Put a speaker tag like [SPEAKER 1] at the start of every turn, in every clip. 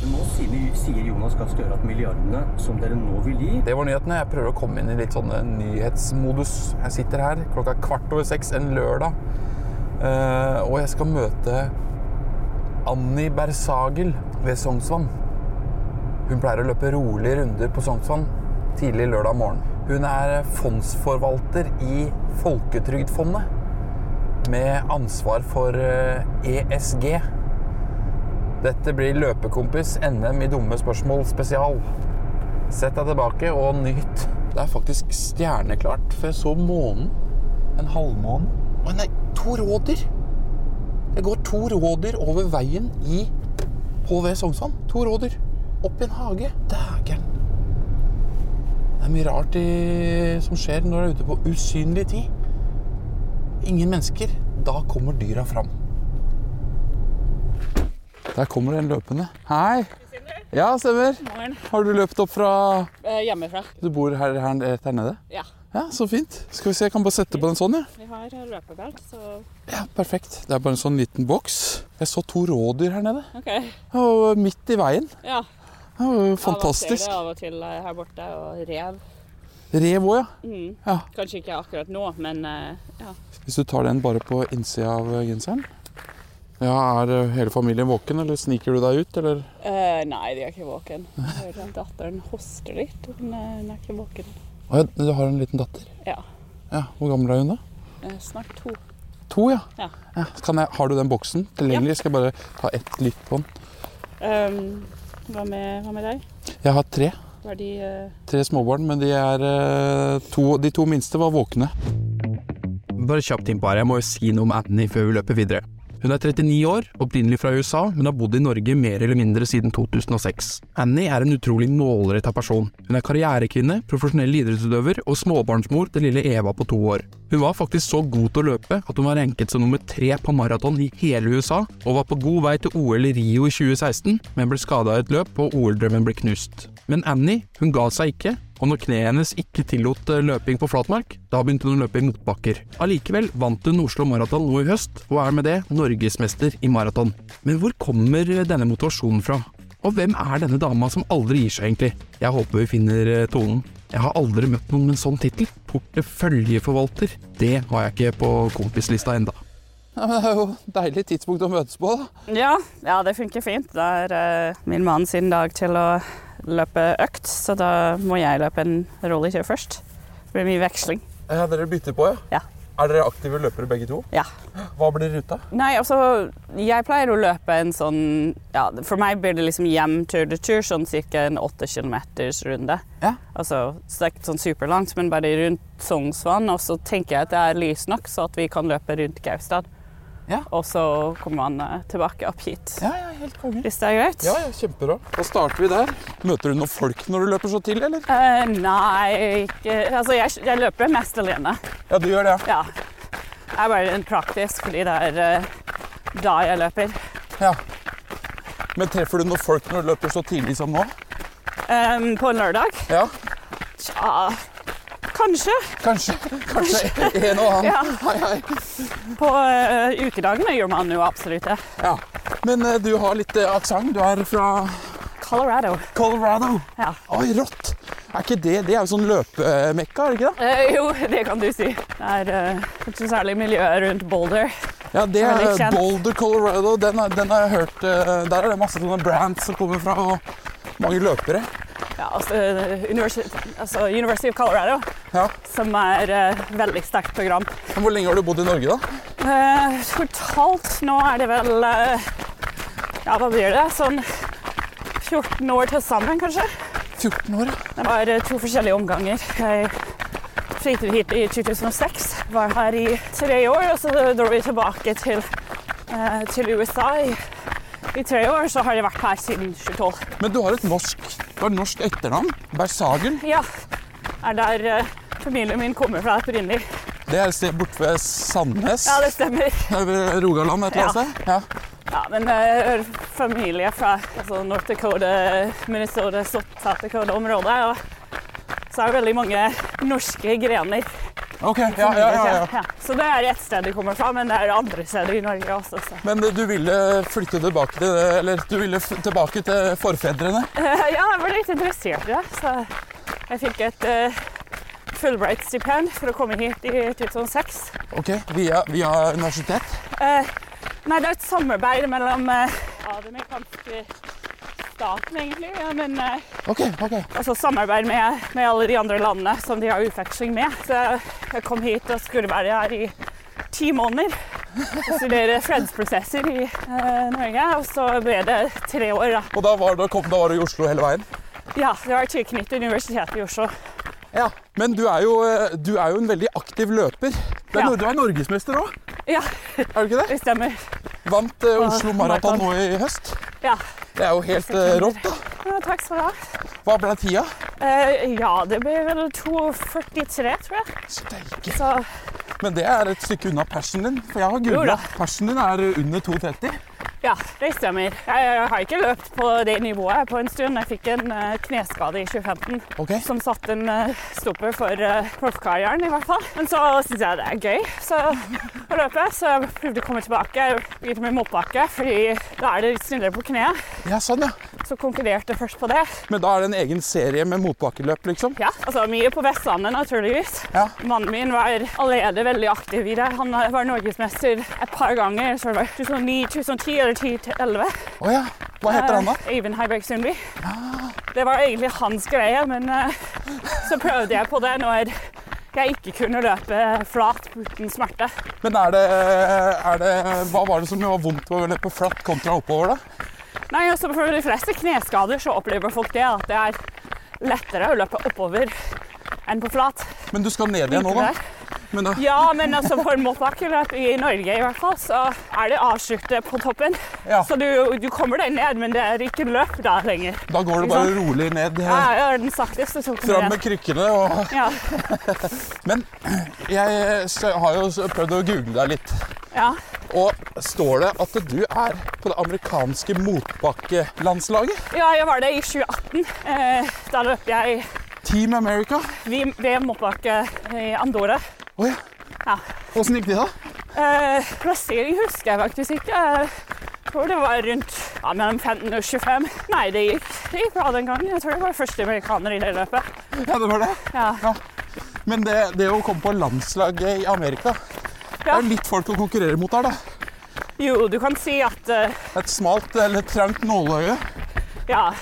[SPEAKER 1] Nå sier, sier Jonas Gahr Støre at milliardene som dere nå vil gi
[SPEAKER 2] Det var nyhetene. Jeg prøver å komme inn i litt sånne nyhetsmodus. Jeg sitter her klokka er kvart over seks en lørdag, eh, og jeg skal møte Anni Bersagel ved Sognsvann. Hun pleier å løpe rolige runder på Sognsvann tidlig lørdag morgen. Hun er fondsforvalter i Folketrygdfondet med ansvar for eh, ESG. Dette blir Løpekompis NM i dumme spørsmål spesial. Sett deg tilbake og nyt. Det er faktisk stjerneklart, for jeg så månen. En halvmåne. Å nei, to rådyr! Det går to rådyr over veien i HV Sognsvann. To rådyr. Opp i en hage. Dægeren. Det er mye rart i, som skjer når du er ute på usynlig tid. Ingen mennesker. Da kommer dyra fram. Der kommer den løpende. Hei! Ja, stemmer.
[SPEAKER 3] Morgen.
[SPEAKER 2] Har du løpt opp fra
[SPEAKER 3] Eh, hjemmefra.
[SPEAKER 2] Du bor her, her, rett her nede?
[SPEAKER 3] Ja.
[SPEAKER 2] Ja, så fint. Skal vi se, jeg kan bare sette på den sånn, ja.
[SPEAKER 3] Vi har løpebelt, så
[SPEAKER 2] Ja, perfekt. Det er bare en sånn liten boks. Jeg så to rådyr her nede.
[SPEAKER 3] OK.
[SPEAKER 2] Og midt i veien.
[SPEAKER 3] Ja.
[SPEAKER 2] Det var jo
[SPEAKER 3] Av og til,
[SPEAKER 2] fantastisk.
[SPEAKER 3] av og til eh, her borte, og rev.
[SPEAKER 2] Rev òg, ja.
[SPEAKER 3] Mm.
[SPEAKER 2] ja.
[SPEAKER 3] Kanskje ikke akkurat nå, men eh, ja.
[SPEAKER 2] Hvis du tar den bare på innsida av eh, genseren. Ja, Er eh, hele familien våken, eller sniker du deg ut, eller?
[SPEAKER 3] Eh, nei, de er ikke våken. Jeg hører at Datteren hoster litt, men eh, hun er ikke våken.
[SPEAKER 2] Å ja, du har en liten datter.
[SPEAKER 3] Ja.
[SPEAKER 2] Ja, Hvor gammel er hun, da?
[SPEAKER 3] Eh, snart to.
[SPEAKER 2] To, ja.
[SPEAKER 3] Ja.
[SPEAKER 2] Kan jeg, har du den boksen tilgjengelig? Skal jeg bare ta ett lytt på den?
[SPEAKER 3] Um, hva, med, hva med deg?
[SPEAKER 2] Jeg har tre.
[SPEAKER 3] Var de eh,
[SPEAKER 2] Tre småbarn, men de, er, eh, to, de to minste var våkne. Bare kjapt inn på her, jeg må jo si noe om Annie før vi løper videre. Hun er 39 år, opprinnelig fra USA, men har bodd i Norge mer eller mindre siden 2006. Annie er en utrolig nålretta person. Hun er karrierekvinne, profesjonell idrettsutøver og småbarnsmor til lille Eva på to år. Hun var faktisk så god til å løpe at hun var ranket som nummer tre på maraton i hele USA, og var på god vei til OL i Rio i 2016, men ble skada i et løp, og OL-drømmen ble knust. Men Annie, hun ga seg ikke, og når kneet hennes ikke tillot eh, løping på flatmark, da begynte hun å løpe i motbakker. Allikevel vant hun Oslo Maraton nå i høst, og er med det norgesmester i maraton. Men hvor kommer eh, denne motivasjonen fra? Og hvem er denne dama som aldri gir seg, egentlig? Jeg håper vi finner eh, tonen. Jeg har aldri møtt noen med en sånn tittel. Porteføljeforvalter. Det har jeg ikke på kompislista enda. det er jo et deilig tidspunkt å møtes på, da.
[SPEAKER 3] Ja, ja, det funker fint. Det er eh, min mann sin dag til å løpe økt, så da må jeg løpe en rolig tur først. Det blir mye veksling.
[SPEAKER 2] Ja, Eh, dere bytter på,
[SPEAKER 3] Ja.
[SPEAKER 2] Er dere aktive løpere begge to?
[SPEAKER 3] Ja.
[SPEAKER 2] Hva blir ruta?
[SPEAKER 3] Nei, altså, jeg pleier å løpe en sånn ja, For meg blir det liksom hjem tur til tur, sånn ca. en åtte kilometers runde.
[SPEAKER 2] Ja.
[SPEAKER 3] Altså, så det er ikke sånn superlangt, men bare rundt Sognsvann. Og så tenker jeg at det er lys nok, så at vi kan løpe rundt Gaustad.
[SPEAKER 2] Ja.
[SPEAKER 3] Og så kommer man eh, tilbake opp hit.
[SPEAKER 2] Ja, ja, helt konge.
[SPEAKER 3] Hvis det er greit?
[SPEAKER 2] Ja, ja, kjempebra. Da starter vi der. Møter du noen folk når du løper så til, eller?
[SPEAKER 3] Eh, nei, ikke Altså, jeg, jeg løper mest alene.
[SPEAKER 2] Ja, du gjør det,
[SPEAKER 3] Ja. Det er bare en praktisk, fordi det er eh, da jeg løper.
[SPEAKER 2] ja. Men treffer du noen folk når du løper så tidlig som nå?
[SPEAKER 3] Em, Ehm, på en lørdag
[SPEAKER 2] Ja,
[SPEAKER 3] Tja, kanskje.
[SPEAKER 2] kanskje. Kanskje en og annen.
[SPEAKER 3] Ja.
[SPEAKER 2] Hei, hei.
[SPEAKER 3] På eh, ukedagene gjør man jo absolutt det.
[SPEAKER 2] Ja. Men eh, du har litt uh, aksent. Du er fra
[SPEAKER 3] Colorado.
[SPEAKER 2] Colorado.
[SPEAKER 3] Ja.
[SPEAKER 2] Oi, rått. Er ikke det Det er jo sånn løpemekka, er det ikke det?
[SPEAKER 3] Eh, jo, det kan du si. Det er eh, kanskje særlig miljøet rundt Boulder.
[SPEAKER 2] Ja, det
[SPEAKER 3] Veldig
[SPEAKER 2] er eh,
[SPEAKER 3] kjent.
[SPEAKER 2] Boulder, Colorado. Den, har- den har jeg hørt eh, Der er det masse sånne brands som kommer fra, og mange løpere.
[SPEAKER 3] Ja, altså, eh, universi- altså University of Colorado,
[SPEAKER 2] Ja.
[SPEAKER 3] som er et veldig sterkt program.
[SPEAKER 2] Men hvor lenge har du bodd i Norge, da?
[SPEAKER 3] Eh, totalt nå er det vel eh, Ja, hva blir det? Sånn 14 år til sammen, kanskje.
[SPEAKER 2] 14 år, ja.
[SPEAKER 3] Det var eh, to forskjellige omganger. Jeg flyttet hit i 2006, var her i tre år, og så dro vi tilbake til, eh, til USA i I tre år så har jeg vært her siden 2012.
[SPEAKER 2] Men du har et norsk, du har et norsk etternavn. Bersagen.
[SPEAKER 3] Ja, er der eh, familien min kommer fra opprinnelig.
[SPEAKER 2] Det er et sted borte ved Sandnes.
[SPEAKER 3] Ja, det stemmer.
[SPEAKER 2] Eller Rogaland et eller annet
[SPEAKER 3] Ja.
[SPEAKER 2] sted. Ja.
[SPEAKER 3] Ja, men eh, familie fra altså North Dakota, Minnesota, South Dakota-området. Og så er det veldig mange norske grener.
[SPEAKER 2] Ok, ja, ja, ja, ja.
[SPEAKER 3] Ja, Så det er ett sted de kommer fra, men det er andre steder i Norge også. Så.
[SPEAKER 2] Men eh, du ville flytte tilbake til, eller du ville f- tilbake til forfedrene?
[SPEAKER 3] Eh, ja, jeg var litt interessert i det, så jeg fikk et eh, Fulbright-stipend for å komme hit i 2006.
[SPEAKER 2] Ok, via, via universitet?
[SPEAKER 3] Eh, nei, det er et samarbeid mellom eh, ja, den amerikanske staten, egentlig. Ja, men eh,
[SPEAKER 2] Ok, ok.
[SPEAKER 3] altså samarbeid med, med alle de andre landene som de har utveksling med. Så jeg kom hit og skulle være her i ti måneder og studere fredsprosesser i eh, Norge. Og så ble det tre år, da.
[SPEAKER 2] Og da var, du, kom, da var du i Oslo hele veien?
[SPEAKER 3] Ja, det var tilknyttet Universitetet i Oslo.
[SPEAKER 2] Ja. Men du er jo, eh, du er jo en veldig aktiv løper. Du er,
[SPEAKER 3] Ja.
[SPEAKER 2] nor- du er norgesmester òg,
[SPEAKER 3] Ja,
[SPEAKER 2] er du ikke det?
[SPEAKER 3] det stemmer.
[SPEAKER 2] Vant eh, Oslo
[SPEAKER 3] Ah,
[SPEAKER 2] Maraton
[SPEAKER 3] maraton.
[SPEAKER 2] nå i høst.
[SPEAKER 3] Ja.
[SPEAKER 2] Det er jo helt eh, rått, da.
[SPEAKER 3] Ja, takk skal du ha.
[SPEAKER 2] Hva ble tida?
[SPEAKER 3] Eh, ja, det ble vel 2,43, tror jeg.
[SPEAKER 2] Steike.
[SPEAKER 3] Så
[SPEAKER 2] Men det er et stykke unna persen din, for jeg har
[SPEAKER 3] Jo da.
[SPEAKER 2] googla. Persen din er under 2,30.
[SPEAKER 3] Ja, det stemmer. Jeg har ikke løpt på det nivået på en stund. Jeg fikk en eh, kneskade i 2015
[SPEAKER 2] Ok.
[SPEAKER 3] som satte en eh, stopper for eh, proffkarrieren, i hvert fall. Men så syns jeg det er gøy så, å løpe, så jeg prøvde å komme tilbake. Jeg begynte med motbakke, fordi da er det litt snillere på kneet.
[SPEAKER 2] Ja, sånn, ja.
[SPEAKER 3] Så konkurrerte jeg først på det.
[SPEAKER 2] Men da er det en egen serie med motbakkeløp, liksom?
[SPEAKER 3] Ja, altså mye på Vestlandet, naturligvis.
[SPEAKER 2] Ja.
[SPEAKER 3] Mannen min var allerede veldig aktiv i det. Han eh, var norgesmester et par ganger. Så det var 2009, 2010 eller 2011.
[SPEAKER 2] Å ja. Hva heter han, da?
[SPEAKER 3] Eh, Eivind Heiberg Sundby.
[SPEAKER 2] Ah.
[SPEAKER 3] Det var egentlig hans greie, men eh, så prøvde jeg på det når jeg ikke kunne løpe flat uten smerte.
[SPEAKER 2] Men er det, er det Hva var det som var vondt å løpe flatt kontra oppover, da?
[SPEAKER 3] Nei, også For de fleste kneskader så opplever folk det at det er lettere å løpe oppover enn på flat.
[SPEAKER 2] Men du skal ned igjen nå, da?
[SPEAKER 3] Likevel.
[SPEAKER 2] Men da
[SPEAKER 3] Ja, men altså for motbakkeløp i Norge i hvert fall, så er det avsluttet på toppen.
[SPEAKER 2] Ja.
[SPEAKER 3] Så du, du kommer deg ned, men det er ikke løp da lenger.
[SPEAKER 2] Da går det bare rolig ned. eh,
[SPEAKER 3] Jeg er den sakteste som kommer
[SPEAKER 2] Fram med
[SPEAKER 3] igjen.
[SPEAKER 2] krykkene og
[SPEAKER 3] Ja,
[SPEAKER 2] Men jeg s- har jo s- prøvd å google deg litt.
[SPEAKER 3] ja.
[SPEAKER 2] Og står det at du er på det amerikanske motbakkelandslaget?
[SPEAKER 3] Ja, jeg var det i 2018. Eh, da løp jeg
[SPEAKER 2] Team America?
[SPEAKER 3] vi- VM motbakke i Andorra.
[SPEAKER 2] Å ja.
[SPEAKER 3] Ja.
[SPEAKER 2] Åssen gikk det, da?
[SPEAKER 3] Eh, plassering husker jeg faktisk ikke. Jeg tror det var rundt ja, mellom 15 og 25. Nei, det gikk, det gikk bra den gangen. Jeg tror jeg var første amerikaner i det løpet.
[SPEAKER 2] Ja, det var det.
[SPEAKER 3] Ja.
[SPEAKER 2] Men det, det å komme på landslaget i Amerika Det
[SPEAKER 3] Ja.
[SPEAKER 2] er jo litt folk å konkurrere mot der, da.
[SPEAKER 3] Jo, du kan si at eh,
[SPEAKER 2] Et smalt eller trangt nåløye.
[SPEAKER 3] Ja.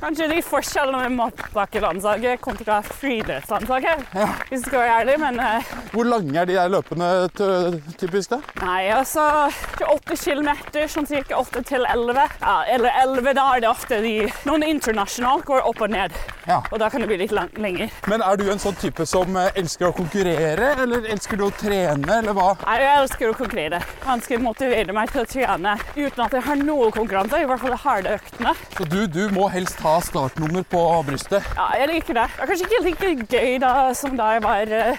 [SPEAKER 3] Kanskje de forskjellene med matpakkelandslaget kontra friidrettslandslaget.
[SPEAKER 2] Ja.
[SPEAKER 3] Hvis du skal være ærlig, men eh,
[SPEAKER 2] Hvor lange er de der løpene t- typisk, da?
[SPEAKER 3] nei, altså til 8 km, sånn cirka 8 til 11. Ja, eller 11, da er det ofte de Noen internasjonalt går opp og ned,
[SPEAKER 2] Ja.
[SPEAKER 3] og da kan det bli litt lang, lenger.
[SPEAKER 2] Men er du en sånn type som eh, elsker å konkurrere, eller elsker du å trene, eller hva?
[SPEAKER 3] Nei, jeg elsker å konkurrere. Ganske motiverer meg til å trene uten at jeg har noe konkurranse, i hvert fall de harde øktene.
[SPEAKER 2] Så du, du må helst ha startnummer på brystet.
[SPEAKER 3] Ja, jeg liker det. Det var kanskje ikke like gøy da som da jeg var eh,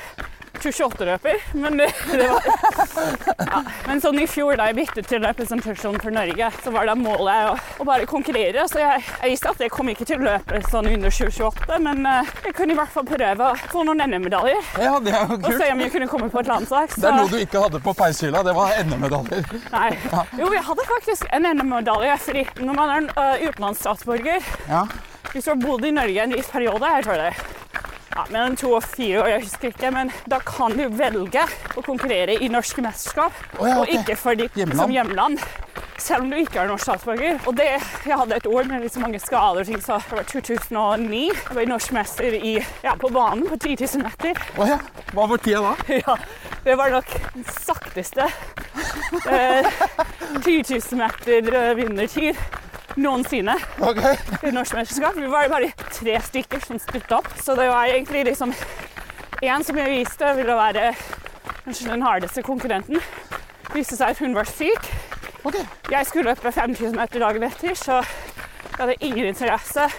[SPEAKER 3] 28-løper, men det, det var ja. Men sånn i fjor, da jeg byttet til representasjon for Norge, så var da målet å, å bare konkurrere. Så jeg, jeg visste at jeg kom ikke til å løpe sånn under 2028, men eh, jeg kunne i hvert fall prøve å få noen NM-medaljer
[SPEAKER 2] Ja, det er jo
[SPEAKER 3] og
[SPEAKER 2] kult.
[SPEAKER 3] se om jeg kunne komme på et landslag.
[SPEAKER 2] Det er noe
[SPEAKER 3] Så,
[SPEAKER 2] du ikke hadde på peishylla, det var NM-medaljer.
[SPEAKER 3] nei. Jo, jeg hadde faktisk en NM-medalje, fordi når man er en eh, utenlandsstatsborger,
[SPEAKER 2] Ja.
[SPEAKER 3] Hvis du har bodd i Norge en viss periode, jeg tror det ja, mellom to og fire år, jeg husker ikke, men da kan du velge å konkurrere i norske mesterskap,
[SPEAKER 2] Å ja, ok.
[SPEAKER 3] og ikke for ditt
[SPEAKER 2] Hjemland.
[SPEAKER 3] som hjemland. Selv om du ikke er norsk statsborger. Og det, jeg hadde et år med litt så mange skader, og ting, så det var 2009. Jeg ble norsk mester i, ja, på banen på 10 000 meter.
[SPEAKER 2] Å ja. Hva var tida da?
[SPEAKER 3] Ja, det var nok den sakteste eh, 10 000 meter eh, vinnertid noensinne
[SPEAKER 2] Ok.
[SPEAKER 3] i norsk mesterskap. Vi var bare tre stykker som stilte opp. Så det var egentlig liksom én som jeg viste ville være kanskje den hardeste konkurrenten. Det viste seg at hun var syk,
[SPEAKER 2] Ok.
[SPEAKER 3] Jeg skulle løpe 5000 meter dagen etter, så jeg hadde ingen interesse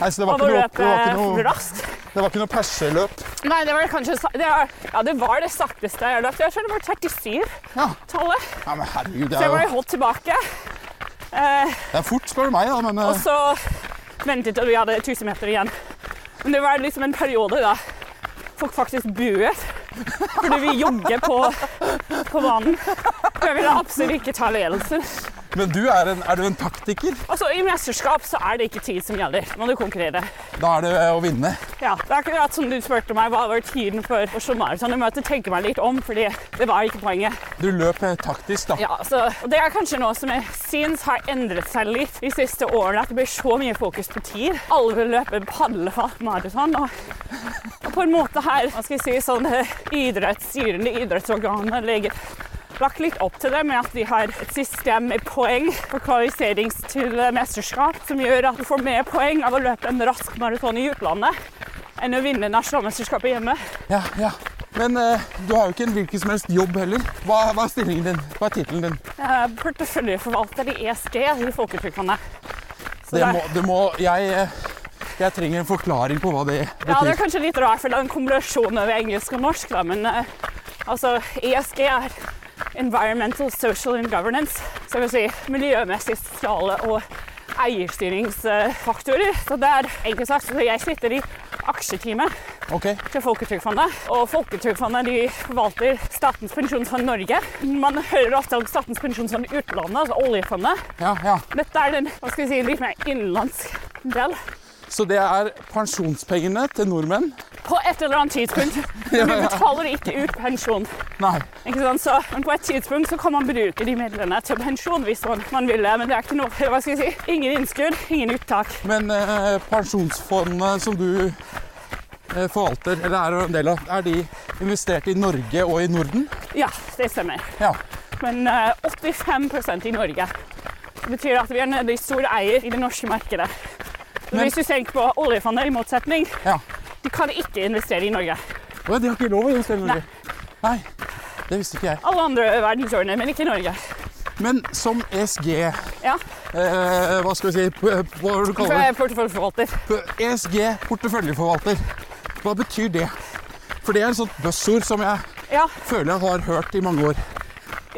[SPEAKER 2] Nei, så det var
[SPEAKER 3] av
[SPEAKER 2] ikke noe,
[SPEAKER 3] å
[SPEAKER 2] det
[SPEAKER 3] løpe
[SPEAKER 2] var ikke noe,
[SPEAKER 3] raskt.
[SPEAKER 2] det var ikke noe perseløp?
[SPEAKER 3] Nei, det var kanskje sa- det var, Ja, det var det sakteste jeg har løpt. Jeg tror det var 37-tallet.
[SPEAKER 2] Ja. Nei, men herregud, det
[SPEAKER 3] Så jeg
[SPEAKER 2] er
[SPEAKER 3] var
[SPEAKER 2] jo
[SPEAKER 3] jo holdt tilbake. Eh,
[SPEAKER 2] det er fort, spør du meg, da, men
[SPEAKER 3] og
[SPEAKER 2] eh,
[SPEAKER 3] så ventet jeg til vi hadde 1000 meter igjen. Men det var liksom en periode da folk faktisk buet. Fordi vi jogger på, på banen. For jeg ville absolutt ikke ta ledelsen.
[SPEAKER 2] eh, Men du er, en, er du en taktiker?
[SPEAKER 3] Altså, I mesterskap så er det ikke tid som gjelder. Må du konkurrere.
[SPEAKER 2] Da er det eh, å vinne.
[SPEAKER 3] Ja, det er akkurat som du spurte meg hva var tiden for Oslo Marathon. Jeg måtte tenke meg litt om, fordi det var ikke poenget.
[SPEAKER 2] Du løp eh, taktisk, da.
[SPEAKER 3] Ja, så, og Det er kanskje noe som jeg syns har endret seg litt de siste årene. At det blir så mye fokus på tid. Alle vil løpe padlefat maraton. Og, og på en måte her hva skal jeg si, sånn eh, idrettsstyrende idrettsorganer legger lagt litt opp til det med at de har et system med poeng for kvalifisering til eh, mesterskap, som gjør at du får mer poeng av å løpe en rask maraton i utlandet enn å vinne nasjonalmesterskapet hjemme.
[SPEAKER 2] Ja, ja. Men eh, du har jo ikke en hvilken som helst jobb heller. Hva, hva er stillingen din? Hva er tittelen din?
[SPEAKER 3] Eh, Porteføljeforvalter i ESG i Folketrygdfondet. Så
[SPEAKER 2] Det
[SPEAKER 3] der-
[SPEAKER 2] må, det må jeg, eh, jeg trenger en forklaring på hva det
[SPEAKER 3] Ja, det er
[SPEAKER 2] betyr.
[SPEAKER 3] kanskje litt rart, for det er en kombinasjon av engelsk og norsk, da, men eh, altså, ESG er Environmental, Social and Governance, så jeg vil si miljømessig, sosiale og eierstyringsfaktorer. Så det er enkelt sagt. Så jeg sitter i aksjeteamet
[SPEAKER 2] Ok,
[SPEAKER 3] til Folketrygdfondet, og Folketrygdfondet de forvalter Statens pensjonsfond Norge. Man hører ofte om Statens pensjonsfond utlandet, altså oljefondet.
[SPEAKER 2] ja, ja.
[SPEAKER 3] Dette er den hva skal jeg si, litt mer innenlandsk del.
[SPEAKER 2] Så det er pensjonspengene til nordmenn?
[SPEAKER 3] På et eller annet tidspunkt. Men vi betaler ikke ut pensjon.
[SPEAKER 2] Nei.
[SPEAKER 3] Ikke sant? Så, men på et tidspunkt så kan man bruke de midlene til pensjon hvis man, man vil det. Men det er ikke noe, hva skal jeg si, ingen innskudd, ingen uttak.
[SPEAKER 2] Men eh, pensjonsfondene som du eh, forvalter, eller er en del av, er de investert i Norge og i Norden?
[SPEAKER 3] Ja, det stemmer.
[SPEAKER 2] Ja.
[SPEAKER 3] Men eh, 85 i Norge. Det betyr at vi er en veldig stor eier i det norske markedet. Så
[SPEAKER 2] Men-
[SPEAKER 3] hvis du tenker på oljefondet, i motsetning,
[SPEAKER 2] ja.
[SPEAKER 3] de kan ikke investere i Norge.
[SPEAKER 2] Å, de har ikke lov å investere i Norge? Nei. Det visste ikke jeg.
[SPEAKER 3] Alle andre verdenshjørner, men ikke Norge.
[SPEAKER 2] Men som ESG, eh,
[SPEAKER 3] Ja,
[SPEAKER 2] hva skal vi si, p- p- hva vil du
[SPEAKER 3] for
[SPEAKER 2] kalle
[SPEAKER 3] jeg
[SPEAKER 2] det?
[SPEAKER 3] er porteføljeforvalter.
[SPEAKER 2] P- ESG porteføljeforvalter. Hva betyr det? For det er et sånt buzzord som jeg
[SPEAKER 3] Ja,
[SPEAKER 2] føler jeg har hørt i mange år.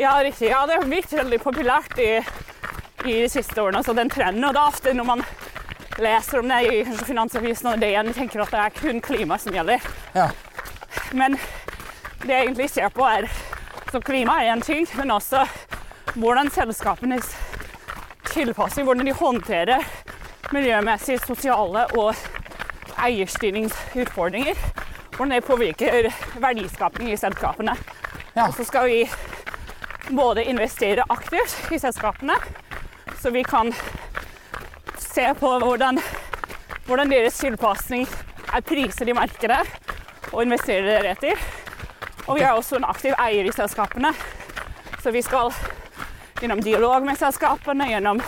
[SPEAKER 3] Ja, riktig. Ja, det har blitt veldig populært i, i de siste årene. Så den trenden, og det er ofte når man leser om det i kanskje Finansavisen og DN, tenker at det er kun klima som gjelder.
[SPEAKER 2] Ja.
[SPEAKER 3] Men det jeg egentlig ser på er Så klima er én ting, men også hvordan selskapenes tilpassing, hvordan de håndterer miljømessige, sosiale og eierstyringsutfordringer. Hvordan det påvirker verdiskapning i selskapene.
[SPEAKER 2] Ja.
[SPEAKER 3] Og så skal vi både investere aktivt i selskapene, så vi kan se på hvordan, hvordan deres tilpasning er priser i markedet, og investere deretter. Og vi er også en aktiv eier i selskapene, så vi skal gjennom dialog med selskapene, gjennom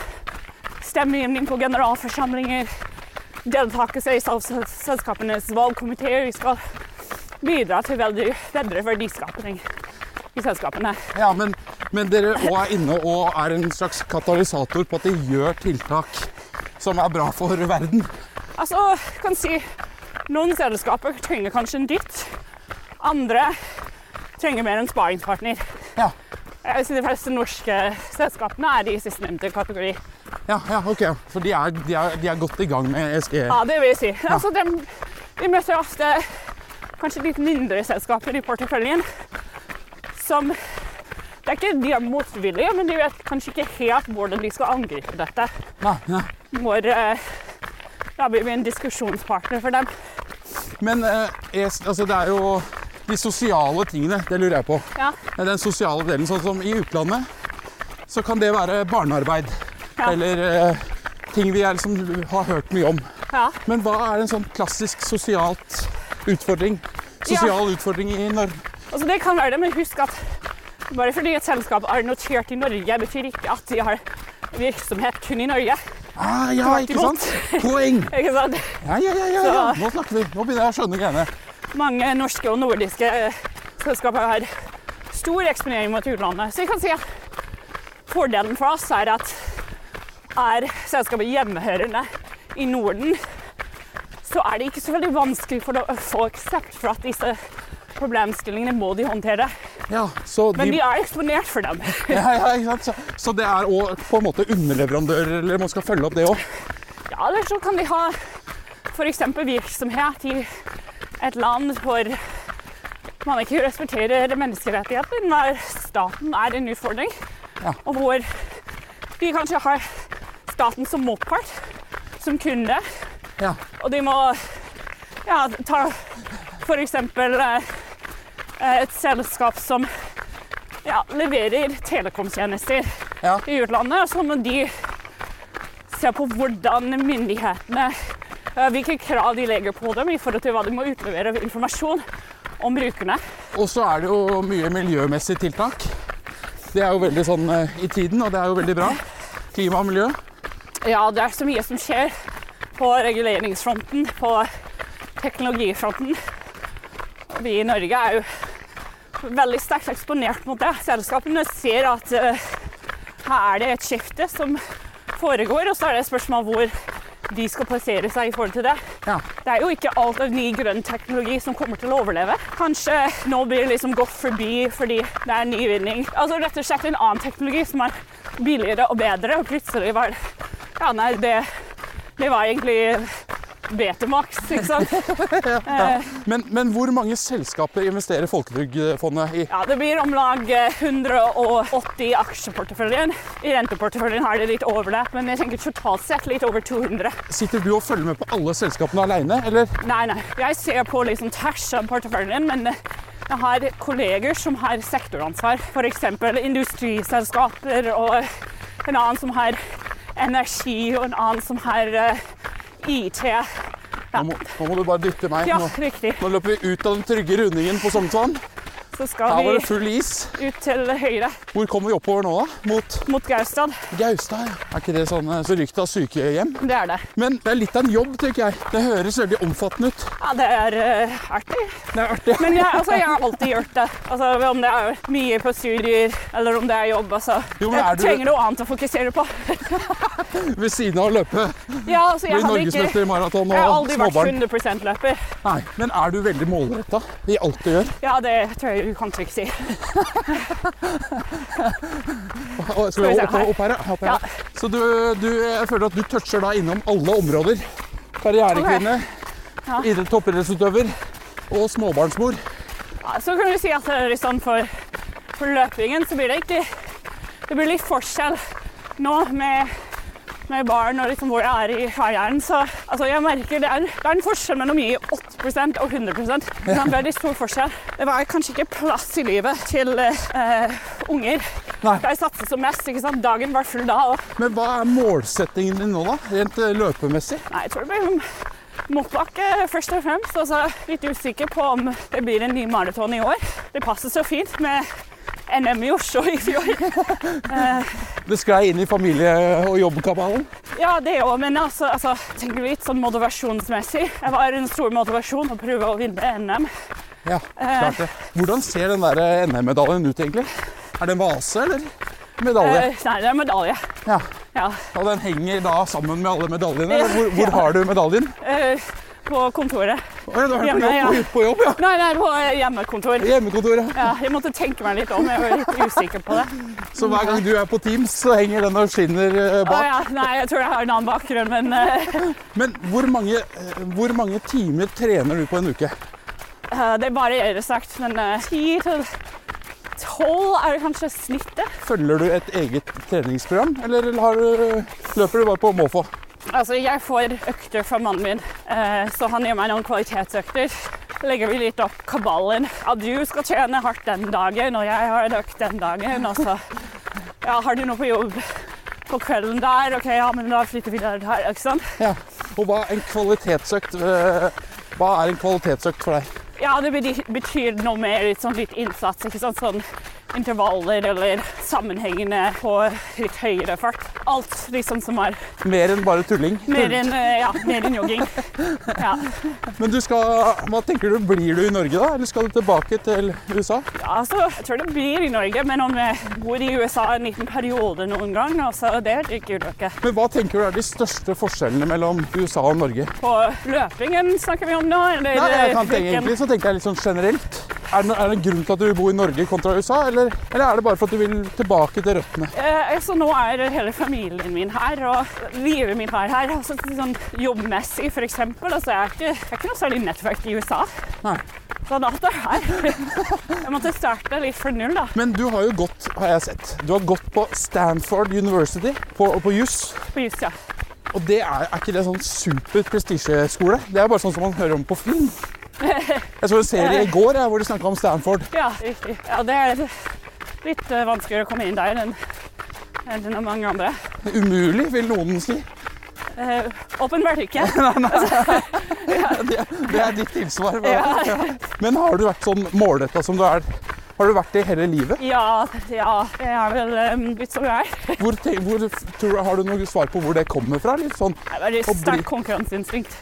[SPEAKER 3] stemmegivning på generalforsamlinger, deltakelse i sel- selskapenes valgkomiteer. Vi skal bidra til veldig bedre verdiskapning i selskapene.
[SPEAKER 2] Ja, men, men dere òg er inne og er en slags katalysator på at de gjør tiltak som er bra for verden.
[SPEAKER 3] Altså, jeg kan si noen selskaper trenger kanskje en dytt. Andre trenger mer en sparingspartner.
[SPEAKER 2] Ja,
[SPEAKER 3] Jeg vil si De fleste norske selskapene er de i sistnevnte kategori.
[SPEAKER 2] ja, ja ok. For de er, de, er, de er godt i gang med E ESG.
[SPEAKER 3] Ja, det vil jeg si. Altså, dem- vi møter ofte kanskje litt mindre selskaper i porteføljen som Det er ikke de er motvillige, men de vet kanskje ikke helt hvordan de skal angripe dette.
[SPEAKER 2] Nei, nei.
[SPEAKER 3] Når eh, ja, blir vi en diskusjonspartner for dem.
[SPEAKER 2] Men eh, ES, altså, det er jo de sosiale tingene, det lurer jeg på.
[SPEAKER 3] Ja,
[SPEAKER 2] Det er Den sosiale delen. Sånn som i utlandet, så kan det være barnearbeid.
[SPEAKER 3] Ja.
[SPEAKER 2] Eller eh, ting vi er, liksom, har hørt mye om.
[SPEAKER 3] ja.
[SPEAKER 2] Men hva er en sånn klassisk sosialt utfordring? Sosial utfordring i Norge?
[SPEAKER 3] Altså, det kan være det, men husk at bare fordi et selskap er notert i Norge, betyr ikke at de har virksomhet kun i Norge.
[SPEAKER 2] Ah, ja,
[SPEAKER 3] Tvert
[SPEAKER 2] ikke sant? Poeng!
[SPEAKER 3] Ikke sant?
[SPEAKER 2] Ja, ja, ja, ja, ja. Nå snakker vi. Nå begynner jeg å skjønne greiene.
[SPEAKER 3] Mange norske og nordiske eh, selskaper har stor eksponering mot utlandet. Så jeg kan si at Fordelen for oss er at er selskapet hjemmehørende i Norden, så er det ikke så veldig vanskelig for å få aksept for at disse problemstillingene må de håndtere.
[SPEAKER 2] Ja, så de,
[SPEAKER 3] Men de er eksponert for dem.
[SPEAKER 2] ja, ja, ikke sant? Så, så det er òg på en måte underleverandører, eller man skal følge opp det òg?
[SPEAKER 3] Ja, eller så kan de ha f.eks. virksomhet i et land hvor man ikke respekterer menneskerettigheter, når staten er en utfordring,
[SPEAKER 2] Ja.
[SPEAKER 3] og hvor de kanskje har staten som motpart, som kunde,
[SPEAKER 2] Ja.
[SPEAKER 3] og de må ja, ta f.eks. eh, et selskap som ja, leverer telekomtjenester
[SPEAKER 2] Ja.
[SPEAKER 3] i utlandet, og så må de se på hvordan myndighetene eh, hvilke krav de legger på dem i forhold til hva de må utlevere av informasjon om brukerne.
[SPEAKER 2] Og så er det jo mye miljømessige tiltak. Det er jo veldig sånn eh, i tiden, og det er jo veldig bra. Klima og miljø.
[SPEAKER 3] Ja, det er så mye som skjer på reguleringsfronten, på teknologifronten. Og Vi i Norge er jo veldig sterkt eksponert mot det. Selskapene ser at eh, her er det et skifte som foregår, og så er det et spørsmål hvor de skal plassere seg i forhold til det.
[SPEAKER 2] Ja.
[SPEAKER 3] Det er jo ikke alt av ny grønn teknologi som kommer til å overleve. Kanskje nå blir det liksom gått forbi fordi det er nyvinning. Altså rett og slett en annen teknologi som er billigere og bedre, og plutselig var det Ja, nei, det, det var egentlig Betamax, ikke sant. Eh,
[SPEAKER 2] Men, men hvor mange selskaper investerer Folketrygdfondet i?
[SPEAKER 3] Ja, det blir om lag eh, 180 i aksjeporteføljen. I renteporteføljen har det litt overlapp, men jeg tenker totalt sett litt over 200.
[SPEAKER 2] Sitter du og følger med på alle selskapene aleine, eller?
[SPEAKER 3] Nei, nei. Jeg ser på liksom tvers av porteføljen, men eh, jeg har kolleger som har sektoransvar. F.eks. industriselskaper og en annen som har energi, og en annen som har eh, IT. Ja.
[SPEAKER 2] Nå må, nå må du bare dytte meg.
[SPEAKER 3] Ja,
[SPEAKER 2] Nå,
[SPEAKER 3] riktig.
[SPEAKER 2] nå løper vi ut av den trygge rundingen på Sognsvann.
[SPEAKER 3] Så skal
[SPEAKER 2] Her var
[SPEAKER 3] vi
[SPEAKER 2] det full is.
[SPEAKER 3] ut til høyre
[SPEAKER 2] Hvor kommer vi oppover nå, da? Mot
[SPEAKER 3] mot Gaustad.
[SPEAKER 2] Gaustad? ja. Er ikke det sånn eh, så rykt av sykehjem?
[SPEAKER 3] Det er det.
[SPEAKER 2] Men det er litt av en jobb, tenker jeg. Det høres veldig omfattende ut.
[SPEAKER 3] Ja, det er eh, artig.
[SPEAKER 2] Det er artig.
[SPEAKER 3] Men jeg, altså, jeg har alltid gjort det. Altså, om det er mye på studier eller om det er jobb, altså.
[SPEAKER 2] Jo, men er
[SPEAKER 3] jeg
[SPEAKER 2] du-
[SPEAKER 3] trenger noe annet å fokusere på.
[SPEAKER 2] Ved siden av å løpe.
[SPEAKER 3] Ja, altså,
[SPEAKER 2] Bli
[SPEAKER 3] jeg hadde ikke...
[SPEAKER 2] norgesmester i maraton
[SPEAKER 3] Jeg har
[SPEAKER 2] og
[SPEAKER 3] aldri vært
[SPEAKER 2] småbarn.
[SPEAKER 3] 100 løper.
[SPEAKER 2] Nei, men er du veldig målretta i alt du gjør?
[SPEAKER 3] Ja, det tror jeg du kan trygt si.
[SPEAKER 2] Og- Skal
[SPEAKER 3] vi
[SPEAKER 2] vi
[SPEAKER 3] se,
[SPEAKER 2] opp,
[SPEAKER 3] her.
[SPEAKER 2] opp her, ja. opp her ja.
[SPEAKER 3] Ja.
[SPEAKER 2] Så du, du jeg føler at du toucher da innom alle områder. Karrierekvinne,
[SPEAKER 3] Ja.
[SPEAKER 2] idrett- toppidrettsutøver og småbarnsmor.
[SPEAKER 3] Ja, så kan du si at det er litt sånn for, for løpingen så blir det egentlig Det blir litt forskjell nå med, med barn og liksom hvor jeg er i karrieren. Så altså, jeg merker det er, det er en forskjell mellom mye 8 og 100 Det er en veldig stor forskjell. Det var kanskje ikke plass i livet til eh, unger
[SPEAKER 2] Nei.
[SPEAKER 3] da jeg satset som mest. ikke sant? Dagen var full da. og
[SPEAKER 2] Men hva er målsettingen din nå, da? Rent eh, løpemessig?
[SPEAKER 3] Nei, jeg tror det blir motbakke først og fremst. Altså, Og så litt usikker på om det blir en ny maraton i år. Det passer så fint med NM i Oslo i fjor.
[SPEAKER 2] Det sklei inn i familie- og jobbkabalen.
[SPEAKER 3] Ja, det òg, men altså, altså tenker litt sånn motivasjonsmessig. Jeg var en stor motivasjon å prøve å vinne NM.
[SPEAKER 2] Ja, klart det.
[SPEAKER 3] Eh.
[SPEAKER 2] Hvordan ser den der eh, NM-medaljen ut, egentlig? Er det en vase eller medalje?
[SPEAKER 3] Eh, nei, det er medalje.
[SPEAKER 2] Ja.
[SPEAKER 3] Ja.
[SPEAKER 2] Og den henger da sammen med alle medaljene? eller Hvor,
[SPEAKER 3] Ja.
[SPEAKER 2] hvor har du medaljen?
[SPEAKER 3] eh, på kontoret.
[SPEAKER 2] Å ja, du har
[SPEAKER 3] Hjemme,
[SPEAKER 2] på jobb, på jobb, ja.
[SPEAKER 3] Nei, det er på eh, hjemmekontor.
[SPEAKER 2] Hjemmekontoret.
[SPEAKER 3] Ja, jeg måtte tenke meg litt om. Jeg var litt usikker på det.
[SPEAKER 2] Så hver gang du er på Teams, så henger den og skinner eh,
[SPEAKER 3] Å,
[SPEAKER 2] bak.
[SPEAKER 3] ja, nei, jeg tror jeg har en annen bakgrunn, men eh,
[SPEAKER 2] Men hvor mange, eh, hvor mange timer trener du på en uke?
[SPEAKER 3] Eh, Det varierer sterkt, men eh, 10 til 12 er kanskje snittet.
[SPEAKER 2] Følger du et eget treningsprogram, eller har du, løper du bare på måfå?
[SPEAKER 3] Altså, jeg får økter fra mannen min, eh, så han gir meg noen kvalitetsøkter. Legger vi litt opp kabalen. Ja, du skal trene hardt den dagen, og jeg har en økt den dagen. Og så ja, har du noe på jobb på kvelden der, OK, ja, men da flytter vi der, der ikke sant?
[SPEAKER 2] Ja. Og hva er en kvalitetsøkt? eh, Hva er en kvalitetsøkt for deg?
[SPEAKER 3] Ja, det bety- betyr noe mer litt, sånn, litt innsats, ikke sant? Sånn intervaller eller sammenhengende på litt høyere fart. alt liksom som var
[SPEAKER 2] Mer enn bare tulling.
[SPEAKER 3] mer enn eh, ja, mer enn jogging. Ja.
[SPEAKER 2] Men du skal, hva tenker du, blir du i Norge da, eller skal du tilbake til USA?
[SPEAKER 3] Ja, altså, jeg tror det blir i Norge, men om jeg bor i USA en liten periode noen gang, altså, det liker du ikke.
[SPEAKER 2] Men hva tenker du er de største forskjellene mellom USA og Norge?
[SPEAKER 3] På løpingen snakker vi om nå, eller
[SPEAKER 2] Nei, jeg kan tenke,
[SPEAKER 3] hvilken-
[SPEAKER 2] egentlig så tenker jeg litt sånn generelt. Er det, no- er det en grunn til at du bor i Norge kontra USA, eller, eller er det bare for at du vil tilbake til røttene?
[SPEAKER 3] Eh, så nå er hele familien min her, og livet mitt er her. Altså, sånn jobbmessig, for eksempel. Altså, jeg, er ikke, jeg er ikke noe særlig nettverk i USA.
[SPEAKER 2] Nei.
[SPEAKER 3] Så da er det her. Jeg måtte starte litt fra null, da,
[SPEAKER 2] Men du har jo gått, har jeg sett, du har gått på Stanford University på, på JUS.
[SPEAKER 3] på Jussia.
[SPEAKER 2] Og det er, er ikke det sånn super prestisjeskole? Det er bare sånn som man hører om på film. Jeg så en serie i går jeg, hvor de snakka om Stanford.
[SPEAKER 3] Ja, riktig. Ja, det er litt eh, vanskeligere å komme inn der enn enn det er mange andre.
[SPEAKER 2] Umulig, vil noen si.
[SPEAKER 3] Eh, Åpenbart ikke.
[SPEAKER 2] Det, det er ditt tilsvar.
[SPEAKER 3] Ja.
[SPEAKER 2] Men har du vært sånn målretta som du er? Har du vært det hele livet?
[SPEAKER 3] Ja, ja, jeg er vel um, litt som jeg er.
[SPEAKER 2] Hvor, te- hvor, tror du, har du noe svar på hvor det kommer fra? Litt sånn,
[SPEAKER 3] Jeg har veldig
[SPEAKER 2] Og bli-
[SPEAKER 3] sterk konkurranseinstinkt.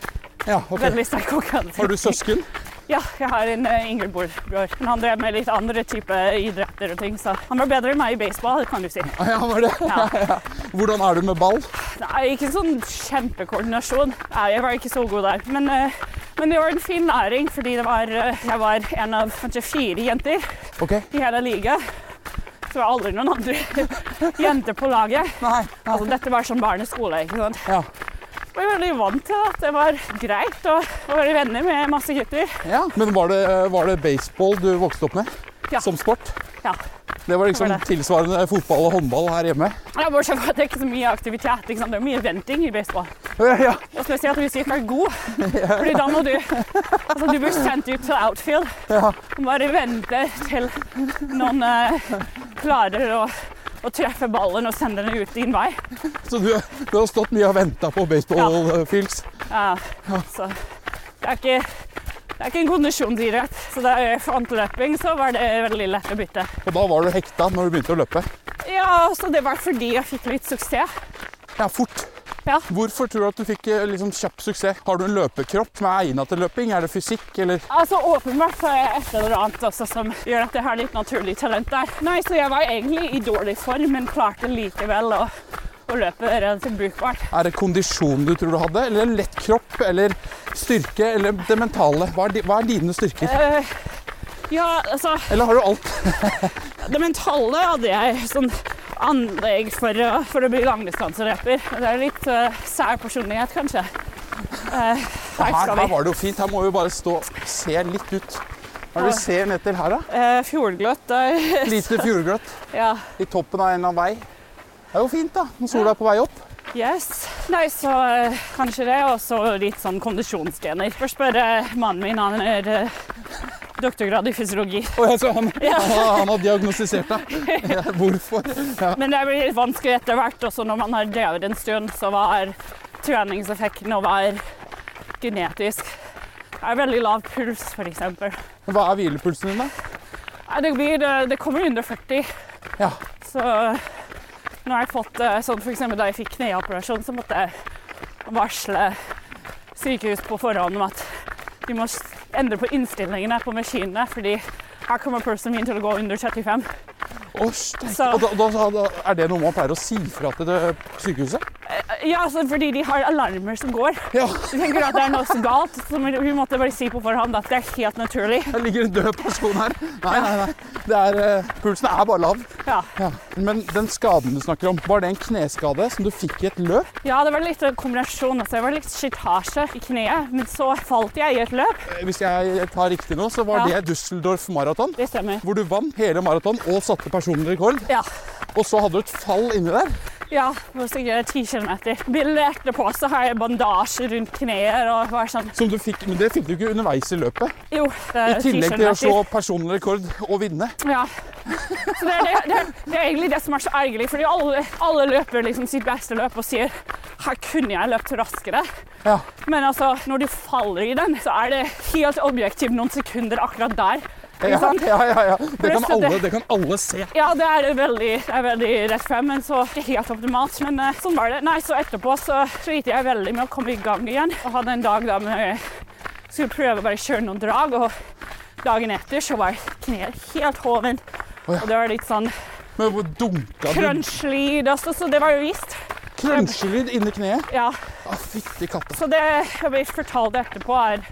[SPEAKER 2] ja, ok.
[SPEAKER 3] Veldig sterk konkurranseinstinkt.
[SPEAKER 2] Har du søsken?
[SPEAKER 3] Ja, jeg har en eh, Ingeborg. Bjørg. Men han drev med litt andre type idretter og ting, så han var bedre enn meg i baseball, kan du si.
[SPEAKER 2] Ah, Ja, var det?
[SPEAKER 3] Ja.
[SPEAKER 2] Hvordan er du med ball?
[SPEAKER 3] Nei, ikke sånn kjempekoordinasjon. Nei, jeg var ikke så god der. Men, eh, men det var en fin læring, fordi det var, eh, jeg var en av kanskje fire jenter
[SPEAKER 2] Ok.
[SPEAKER 3] i hele ligaen. Så det var aldri noen andre jenter på laget.
[SPEAKER 2] Nei. nei.
[SPEAKER 3] Altså, dette var sånn barneskole, ikke sant.
[SPEAKER 2] Ja.
[SPEAKER 3] Jeg var veldig vant til at det var greit å å være venner med masse gutter.
[SPEAKER 2] ja. Men var det, var det baseball du vokste opp med
[SPEAKER 3] Ja.
[SPEAKER 2] som sport?
[SPEAKER 3] Ja.
[SPEAKER 2] Det var liksom
[SPEAKER 3] Det var det.
[SPEAKER 2] tilsvarende fotball og håndball her hjemme?
[SPEAKER 3] Ja, bortsett fra at det er ikke så mye aktivitet. Ikke sant? Det er mye venting i baseball.
[SPEAKER 2] Ja.
[SPEAKER 3] Og spesielt hvis du ikke er god. Fordi da må du altså, Du blir sendt ut til outfield
[SPEAKER 2] Ja.
[SPEAKER 3] og bare vente til noen eh, klarer å, å treffe ballen og sende den ut din vei.
[SPEAKER 2] Så du, du har stått mye og venta på baseballfields.
[SPEAKER 3] Ja, så det er ikke det er ikke en kondisjonsidrett. Så da jeg fant løping, så var det veldig lett å bytte.
[SPEAKER 2] Og da var du hekta når du begynte å løpe.
[SPEAKER 3] Ja, så det var fordi jeg fikk litt suksess.
[SPEAKER 2] Ja, fort.
[SPEAKER 3] Ja.
[SPEAKER 2] Hvorfor tror du at du fikk eh, liksom, kjapp suksess? Har du en løpekropp som er egna til løping? Er det fysikk, eller?
[SPEAKER 3] Altså, åpenbart så er jeg et eller annet også som gjør at jeg har litt naturlig talent der. Nei, så jeg var egentlig i dårlig form, men klarte likevel å, å løpe relativt brukbart.
[SPEAKER 2] Er det kondisjon du tror du hadde? Eller en lett kropp? Eller styrke? Eller det mentale? Hva er, di, hva er dine styrker?
[SPEAKER 3] Eh, ja, altså,
[SPEAKER 2] Eller har du alt?
[SPEAKER 3] det mentale hadde jeg sånn anlegg for, å- for å bli langdistanseløper. Det er litt uh, sær personlighet, kanskje. Eh, her
[SPEAKER 2] Her,
[SPEAKER 3] skal
[SPEAKER 2] her
[SPEAKER 3] vi.
[SPEAKER 2] var det jo fint. Her må vi bare stå og se litt ut. Hva er det vi ser ned til her, da?
[SPEAKER 3] Uh, Fjordgløtt der.
[SPEAKER 2] Lite fjordgløtt
[SPEAKER 3] ja.
[SPEAKER 2] i toppen av en eller annen vei. Det er jo fint, da. Når sola er på vei opp.
[SPEAKER 3] Yes. Nei, så eh, kanskje det, og så litt sånn kondisjonsgener. Først spørre mannen min, han er eh, doktorgrad i fysiologi.
[SPEAKER 2] Og jeg så han,
[SPEAKER 3] Ja.
[SPEAKER 2] han, har- han har diagnostisert deg. Ja, hvorfor? Ja.
[SPEAKER 3] Men det blir litt vanskelig etter hvert, også når man har drevet en stund, så hva er treningseffekten, og hva er genetisk? Det er veldig lav puls, for eksempel.
[SPEAKER 2] Hva er hvilepulsen din, da?
[SPEAKER 3] Nei, Det, blir, eh, det kommer under 40,
[SPEAKER 2] Ja.
[SPEAKER 3] så nå har jeg fått eh, sånn for eksempel da jeg fikk kneoperasjon, så måtte jeg varsle sykehus på forhånd om at de må s- endre på innstillingene på maskinene, fordi her kommer pulsen min til å gå under 35.
[SPEAKER 2] Å, steik.
[SPEAKER 3] Så-
[SPEAKER 2] Og da, da, da, er det noe man pleier å si fra til det sykehuset?
[SPEAKER 3] Ja, altså fordi de har alarmer som går.
[SPEAKER 2] Ja.
[SPEAKER 3] Du tenker at det er noe som galt, så vi måtte bare si på forhånd at det er helt naturlig.
[SPEAKER 2] Det ligger en død person her. Nei, nei, nei. Det er, eh, pulsen er bare lav.
[SPEAKER 3] Ja,
[SPEAKER 2] Ja. Men den skaden du snakker om, var det en kneskade som du fikk i et løp?
[SPEAKER 3] ja det var litt en kombinasjon. Altså, det var litt slitasje i kneet, men så falt jeg i et løp.
[SPEAKER 2] Eh, Hvis jeg tar riktig nå, så var
[SPEAKER 3] Ja.
[SPEAKER 2] det Düsseldorf maraton.
[SPEAKER 3] Det stemmer.
[SPEAKER 2] Hvor du vant hele maraton og satte personlig rekord.
[SPEAKER 3] Ja.
[SPEAKER 2] Og så hadde du et fall inni der.
[SPEAKER 3] Ja, det var sikkert 10 kilometer. Bildet etterpå så har jeg bandasje rundt kneet og var sånn
[SPEAKER 2] Som du fikk, men det fikk du ikke underveis i løpet.
[SPEAKER 3] Jo, det
[SPEAKER 2] I
[SPEAKER 3] er 10
[SPEAKER 2] tillegg til å
[SPEAKER 3] kilometer.
[SPEAKER 2] slå personlig rekord og vinne.
[SPEAKER 3] Ja. Så det er, det, det, er, det er egentlig det som er så ergerlig, fordi alle, alle løper liksom sitt beste løp og sier her kunne jeg løpt raskere.
[SPEAKER 2] Ja.
[SPEAKER 3] Men altså, når du faller i den, så er det helt objektivt noen sekunder akkurat der Ikke sant?
[SPEAKER 2] Ja, ja, ja. Det, kan
[SPEAKER 3] Presse det.
[SPEAKER 2] alle, det kan alle se.
[SPEAKER 3] Ja, det er veldig, er veldig rett frem, men så ikke helt optimalt. Men eh, sånn var det. Nei, så etterpå så sliter jeg veldig med å komme i gang igjen. Og hadde en dag da med skulle prøve å bare kjøre noen drag, og dagen etter så var kneet helt hoven.
[SPEAKER 2] Å ja.
[SPEAKER 3] Og det var litt sånn
[SPEAKER 2] Men hvor dunka du
[SPEAKER 3] crunch-lyd også, så det var jo visst.
[SPEAKER 2] crunchelyd inni kneet?
[SPEAKER 3] Ja,
[SPEAKER 2] Å, fytti katta.
[SPEAKER 3] så det jeg ble fortalt etterpå er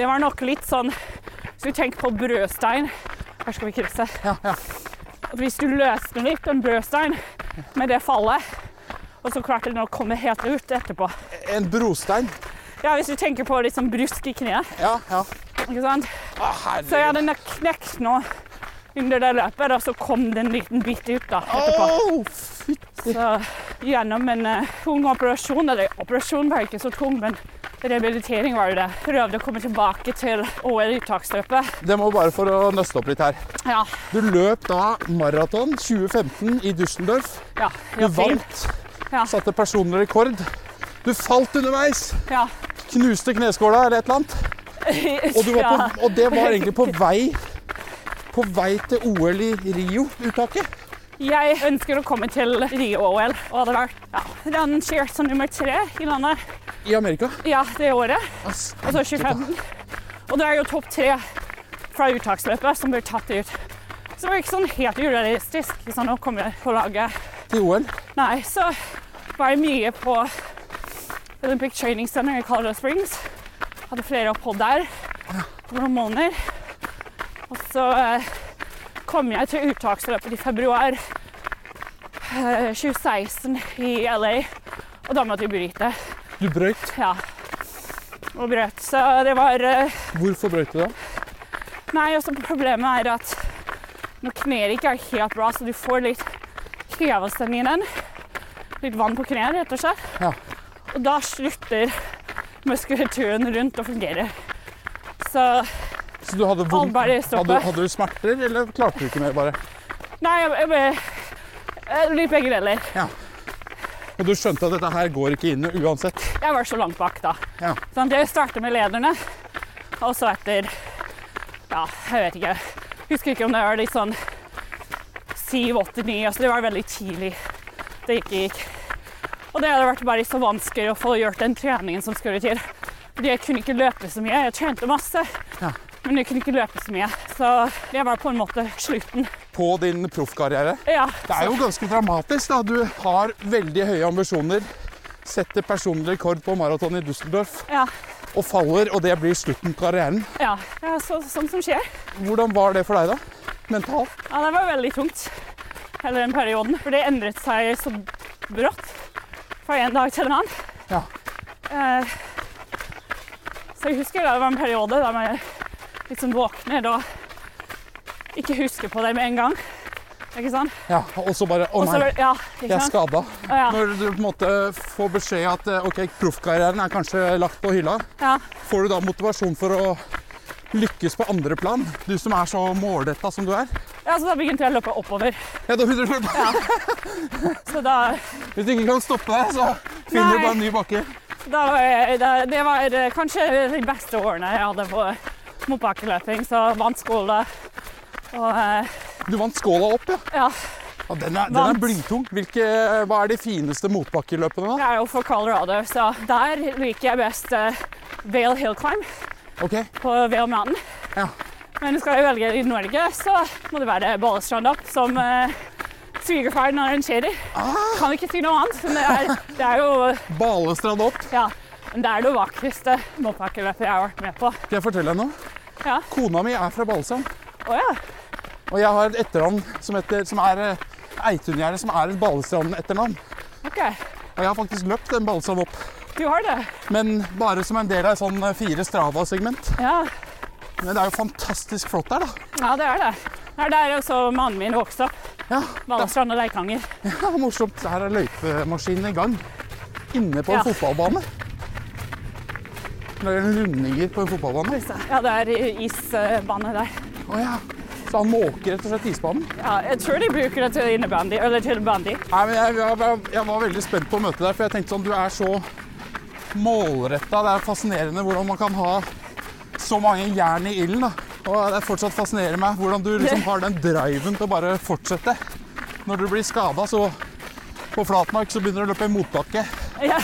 [SPEAKER 3] Det var nok litt sånn Hvis du tenker på brødstein Her skal vi krysse.
[SPEAKER 2] Ja, ja.
[SPEAKER 3] At hvis du løsner litt en brødstein med det fallet, og så klarte den å komme helt ut etterpå
[SPEAKER 2] En brostein.
[SPEAKER 3] Ja, hvis du tenker på litt sånn brusk i kneet,
[SPEAKER 2] Ja, ja.
[SPEAKER 3] ikke sant?
[SPEAKER 2] Å,
[SPEAKER 3] Så jeg
[SPEAKER 2] herregud.
[SPEAKER 3] hadde nok knekt nå under det løpet, og så kom det en liten bit ut da, etterpå.
[SPEAKER 2] Å, fytti
[SPEAKER 3] Så gjennom en eh, tung operasjon, eller operasjon var ikke så tung, men rehabilitering var jo det. Prøvde å komme tilbake til OL i uttaksløpet.
[SPEAKER 2] Det må bare for å nøste opp litt her.
[SPEAKER 3] Ja,
[SPEAKER 2] Du løp da maraton 2015 i Düsseldorf.
[SPEAKER 3] ja.
[SPEAKER 2] Du
[SPEAKER 3] i april.
[SPEAKER 2] vant.
[SPEAKER 3] Ja.
[SPEAKER 2] Satte personlig rekord. Du falt underveis.
[SPEAKER 3] Ja.
[SPEAKER 2] Knuste kneskåla eller et eller annet. Og, du var
[SPEAKER 3] Ja.
[SPEAKER 2] på, og det var egentlig på vei på vei til OL i Rio, uttaket.
[SPEAKER 3] Jeg ønsker å komme til Rio-OL, og hadde vært ja, rangert som nummer tre i landet
[SPEAKER 2] I Amerika.
[SPEAKER 3] ja, det året.
[SPEAKER 2] Ass,
[SPEAKER 3] Og så 25. Og det er jo topp tre fra uttaksløpet som blir tatt ut. Så det var ikke sånn helt urealistisk ikke sant, å komme på laget.
[SPEAKER 2] Til OL.
[SPEAKER 3] Nei, så var jeg mye på Olympic Training Center i Colorado Springs. Hadde flere opphold der på noen måneder. Og så eh, kom jeg til uttaksløpet i februar eh, 2016 i LA, og da måtte jeg bryte.
[SPEAKER 2] Du brøyt.
[SPEAKER 3] Ja. Og brøt. Så det var eh,
[SPEAKER 2] Hvorfor brøyt du da?
[SPEAKER 3] Nei, også problemet er at når kneet ikke er helt bra, så du får litt hevestemme i den. Litt vann på kneet, rett og slett.
[SPEAKER 2] Ja.
[SPEAKER 3] Og da slutter muskulaturen rundt å fungere. Så
[SPEAKER 2] Så du hadde vondt?
[SPEAKER 3] Albert i stoppet.
[SPEAKER 2] Hadde, hadde du smerter, eller klarte du ikke mer, bare?
[SPEAKER 3] Nei, jeg, jeg, jeg, jeg litt begge deler.
[SPEAKER 2] Og du skjønte at dette her går ikke inn uansett?
[SPEAKER 3] Jeg var så langt bak da.
[SPEAKER 2] Ja.
[SPEAKER 3] Sånn, jeg startet med lederne, og så etter Ja, jeg vet ikke. Husker ikke om det var litt sånn 7-8-9. Altså det var veldig tidlig det ikke gikk. Og det hadde vært bare så vanskelig å få gjort den treningen som skulle til. Fordi jeg kunne ikke løpe så mye. Jeg trente masse,
[SPEAKER 2] Ja.
[SPEAKER 3] men jeg kunne ikke løpe så mye. Så det var på en måte slutten.
[SPEAKER 2] På din proffkarriere?
[SPEAKER 3] Ja,
[SPEAKER 2] Det er jo ganske dramatisk, da. Du har veldig høye ambisjoner. Setter personlig rekord på maraton i Düsseldorf
[SPEAKER 3] ja,
[SPEAKER 2] og faller, og det blir slutten på karrieren.
[SPEAKER 3] ja. ja så, sånn som skjer.
[SPEAKER 2] Hvordan var det for deg, da? Mentalt?
[SPEAKER 3] Ja, det var veldig tungt. Hele den perioden. For det endret seg så brått fra en dag til en annen.
[SPEAKER 2] Ja.
[SPEAKER 3] Eh, så jeg husker da det var en periode der man liksom våkner og ikke husker på det med en gang. Ikke sant?
[SPEAKER 2] Ja, og så bare Å
[SPEAKER 3] Og så
[SPEAKER 2] nei,
[SPEAKER 3] var det- ja,
[SPEAKER 2] jeg
[SPEAKER 3] ikke
[SPEAKER 2] er
[SPEAKER 3] sant?
[SPEAKER 2] skada.
[SPEAKER 3] Å, ja,
[SPEAKER 2] Når du på en måte får beskjed at eh, ok, proffkarrieren er kanskje lagt på hylla,
[SPEAKER 3] ja,
[SPEAKER 2] får du da motivasjon for å lykkes på andre plan? Du som er så målretta som du er.
[SPEAKER 3] ja, så da begynte jeg å løpe oppover.
[SPEAKER 2] Ja, da begynner du bare-
[SPEAKER 3] Så da,
[SPEAKER 2] Hvis du ikke kan stoppe deg, så finner du
[SPEAKER 3] Nei.
[SPEAKER 2] bare en ny bakke.
[SPEAKER 3] da var jeg, da, det var eh, kanskje de beste årene jeg hadde på motbakkeløping. Så vant skole og eh,
[SPEAKER 2] Du vant skåla opp, ja.
[SPEAKER 3] ja.
[SPEAKER 2] Ja, den er, den er
[SPEAKER 3] Vant.
[SPEAKER 2] blytung. Hvilke, eh, hva er de fineste motbakkeløpene, da?
[SPEAKER 3] Jeg er jo fra Colorado, så der liker jeg best eh, Vail Hill Climb
[SPEAKER 2] Ok,
[SPEAKER 3] på Vail Mountain.
[SPEAKER 2] Ja.
[SPEAKER 3] Men skal jeg velge i Norge, så må det være Balestrand opp, som eh, svigerfaren arrangerer. Kan ikke si noe annet, men det er, det er jo
[SPEAKER 2] Balestrand opp.
[SPEAKER 3] ja, men det er det vakreste mopphakkeløpet jeg har vært med på.
[SPEAKER 2] Skal jeg fortelle deg noe?
[SPEAKER 3] Ja.
[SPEAKER 2] Kona mi er fra Balestrand.
[SPEAKER 3] Å ja.
[SPEAKER 2] Og jeg har et etternavn som, heter, som er eh, Eitungjerde, som er et Balestrand-etternavn.
[SPEAKER 3] OK.
[SPEAKER 2] Og jeg har faktisk løpt den Balestrand opp.
[SPEAKER 3] Du har det?
[SPEAKER 2] Men bare som en del av et sånn eh, fire Strava-segment.
[SPEAKER 3] Ja.
[SPEAKER 2] Men det er jo fantastisk flott der, da.
[SPEAKER 3] ja, det er det. Det er der også mannen min vokste opp.
[SPEAKER 2] Ja,
[SPEAKER 3] Balestrand og Leikanger.
[SPEAKER 2] det er morsomt. Her er løypemaskinen i gang. Inne på en
[SPEAKER 3] Ja.
[SPEAKER 2] fotballbane. Når det er rundinger på en fotballbane.
[SPEAKER 3] Så, Ja, det er isbane der.
[SPEAKER 2] Å ja. Så han måker rett og slett isbanen.
[SPEAKER 3] Ja, jeg tror de bruker det til innebandy, eller til bandy.
[SPEAKER 2] Nei, men jeg, jeg, jeg, jeg var veldig spent på å møte deg, for jeg tenkte sånn, du er så målretta. Det er fascinerende hvordan man kan ha så mange jern i ilden. da. Og det fortsatt fascinerer meg hvordan du liksom har den driven til å bare fortsette. Når du blir skada, så på flatmark så begynner du å løpe i motbakke.
[SPEAKER 3] Ja.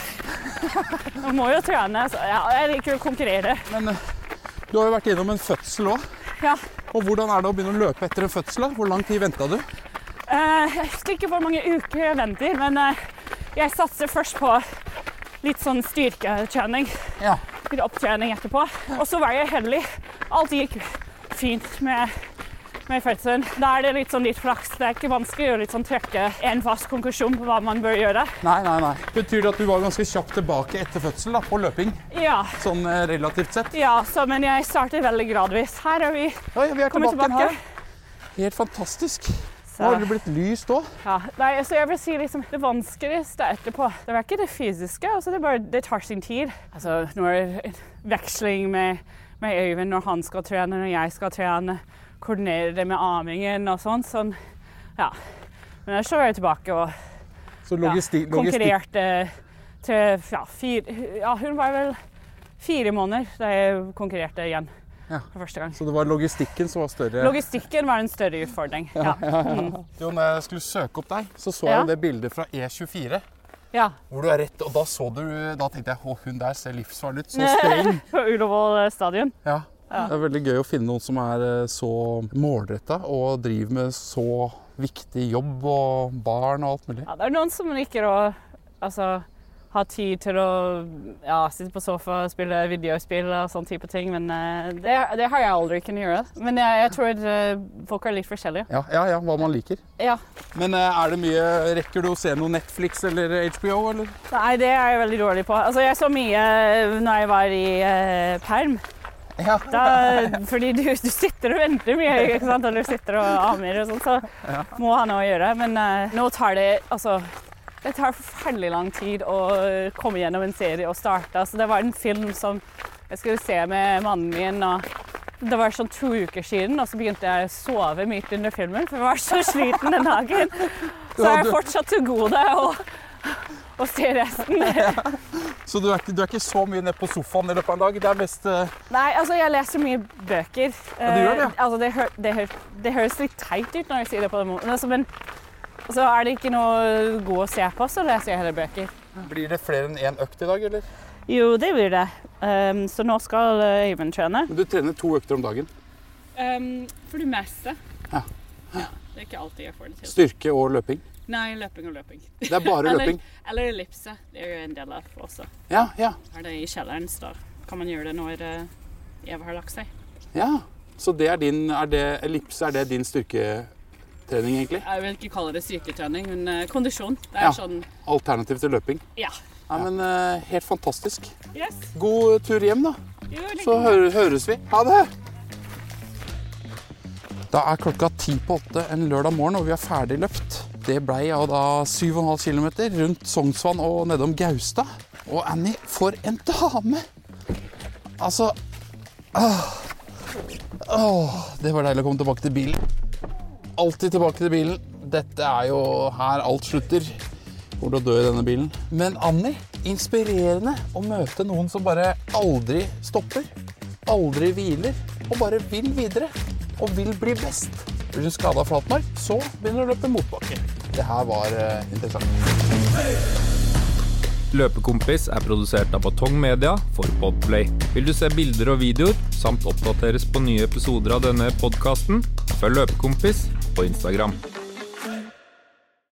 [SPEAKER 3] Man må jo trene. Så ja, jeg liker å konkurrere.
[SPEAKER 2] Men eh, du har jo vært innom en fødsel òg.
[SPEAKER 3] Ja.
[SPEAKER 2] Og hvordan er det å begynne å løpe etter en fødsel? da? Hvor lang tid venta du?
[SPEAKER 3] Eh, Jeg husker ikke hvor mange uker jeg venter, men eh, jeg satser først på litt sånn styrketrening.
[SPEAKER 2] Ja.
[SPEAKER 3] Litt opptrening etterpå. Og så var jeg heldig. Alt gikk fint med, med fødselen. Da er det litt sånn litt flaks. Det er ikke vanskelig å litt sånn trekke en fast konklusjon på hva man bør gjøre.
[SPEAKER 2] Nei, nei, nei. Betyr det at du var ganske kjapt tilbake etter fødsel da, på løping?
[SPEAKER 3] Ja,
[SPEAKER 2] Sånn eh, relativt sett?
[SPEAKER 3] ja så, men jeg starter veldig gradvis. Her er vi
[SPEAKER 2] Oi, vi er
[SPEAKER 3] kommet
[SPEAKER 2] tilbake, igjen
[SPEAKER 3] tilbake.
[SPEAKER 2] her. Helt fantastisk. Nå
[SPEAKER 3] Så,
[SPEAKER 2] har det blitt lyst òg.
[SPEAKER 3] ja. Nei, så jeg vil si liksom, det vanskeligste etterpå, det var ikke det fysiske, altså det, er bare, det tar sin tid. Altså, når veksling med, med Øyvind, når han skal trene, når jeg skal trene, koordinere det med amingen og sånn, sånn, ja. Men ellers så var jeg tilbake og
[SPEAKER 2] Så
[SPEAKER 3] ja,
[SPEAKER 2] logisti logistikk
[SPEAKER 3] konkurrerte til, ja, fire, ja, hun var vel fire måneder da jeg konkurrerte igjen
[SPEAKER 2] Ja.
[SPEAKER 3] for første gang.
[SPEAKER 2] Så det var logistikken som var større?
[SPEAKER 3] Logistikken var en større utfordring. Ja, Mm.
[SPEAKER 2] Jo, når jeg skulle søke opp deg, så så
[SPEAKER 3] Ja.
[SPEAKER 2] jeg jo det bildet fra E24.
[SPEAKER 3] ja.
[SPEAKER 2] Hvor du er rett, og da så du Da tenkte jeg at hun der ser livsfarlig ut. Så streng.
[SPEAKER 3] på Ullevål stadion.
[SPEAKER 2] Ja. Det er veldig gøy å finne noen som er eh, så målretta og driver med så viktig jobb og barn og alt mulig.
[SPEAKER 3] Ja, det er noen som liker å altså, ha tid til å ja, sitte på sofa og spille videospill og sånne type ting, men eh, det, det har jeg aldri kunnet gjøre. Men jeg, jeg tror eh, folk er litt forskjellige.
[SPEAKER 2] Ja, ja, ja, hva man liker.
[SPEAKER 3] Ja.
[SPEAKER 2] Men eh, er det mye Rekker du å se noe Netflix eller HBO, eller?
[SPEAKER 3] Nei, det er jeg veldig dårlig på. Altså, jeg så mye eh, når jeg var i eh, perm.
[SPEAKER 2] Ja.
[SPEAKER 3] Da, fordi du, du sitter og venter mye, ikke sant? og du sitter og amer og sånn, så må han òg gjøre. Men eh, nå tar det altså Det tar forferdelig lang tid å komme gjennom en serie og starte. Altså, det var en film som jeg skulle se med mannen min. og det var sånn to uker siden, og så begynte jeg å sove midt under filmen. For jeg var så sliten den dagen. Så jeg er
[SPEAKER 2] du-
[SPEAKER 3] fortsatt til gode å, å se resten.
[SPEAKER 2] Så du er, ikke, du er ikke så mye nede på sofaen i løpet av en dag? Det er mest eh,
[SPEAKER 3] Nei, altså jeg leser mye bøker.
[SPEAKER 2] Ja, du gjør det, ja.
[SPEAKER 3] Eh, altså, det, hø det, hø det høres litt teit ut når jeg sier det på den måten. Altså, men så er det ikke noe god å se på, så leser jeg heller bøker.
[SPEAKER 2] Blir det flere enn én økt i dag, eller?
[SPEAKER 3] Jo, det blir det. Ehm, så nå skal eh, Øyvind trene.
[SPEAKER 2] Men du trener to økter om dagen.
[SPEAKER 3] Ehm, for det meste.
[SPEAKER 2] Ja.
[SPEAKER 3] Det er ikke alltid jeg får det
[SPEAKER 2] Styrke og løping.
[SPEAKER 3] Nei, løping og løping.
[SPEAKER 2] Det er bare løping.
[SPEAKER 3] eller ellipse. Det er jo en del av også.
[SPEAKER 2] Ja, ja,
[SPEAKER 3] Er det i kjelleren, så kan man gjøre det når eh, Eva har lagt seg.
[SPEAKER 2] ja. Så det er din er det, Ellipse, er det din styrketrening, egentlig?
[SPEAKER 3] Jeg vil ikke kalle det styrketrening, men eh, kondisjon. Det sånn,
[SPEAKER 2] er Ja. Alternativ til løping.
[SPEAKER 3] Ja.
[SPEAKER 2] Nei, men eh, helt fantastisk.
[SPEAKER 3] Yes.
[SPEAKER 2] God tur hjem, da.
[SPEAKER 3] Jo,
[SPEAKER 2] Så hø- høres vi. Ha det! Da er klokka ti på åtte en lørdag morgen, og vi er ferdig løpt. Det blei ja da 7,5 km rundt Sognsvann og nedom Gaustad. Og Annie, for en dame! Altså ah. Åh, Det var deilig å komme tilbake til bilen. Alltid tilbake til bilen. Dette er jo her alt slutter. Kommer til å dø i denne bilen. Men Anni, inspirerende å møte noen som bare aldri stopper. Aldri hviler. Og bare vil videre. Og vil bli best. Blir du skada av flatmark, så begynner du å løpe motbakke. Det her var eh, interessant.
[SPEAKER 4] Løpekompis er produsert av Batong Media for Podplay. Vil du se bilder og videoer, samt oppdateres på nye episoder av denne podkasten, følg Løpekompis på Instagram.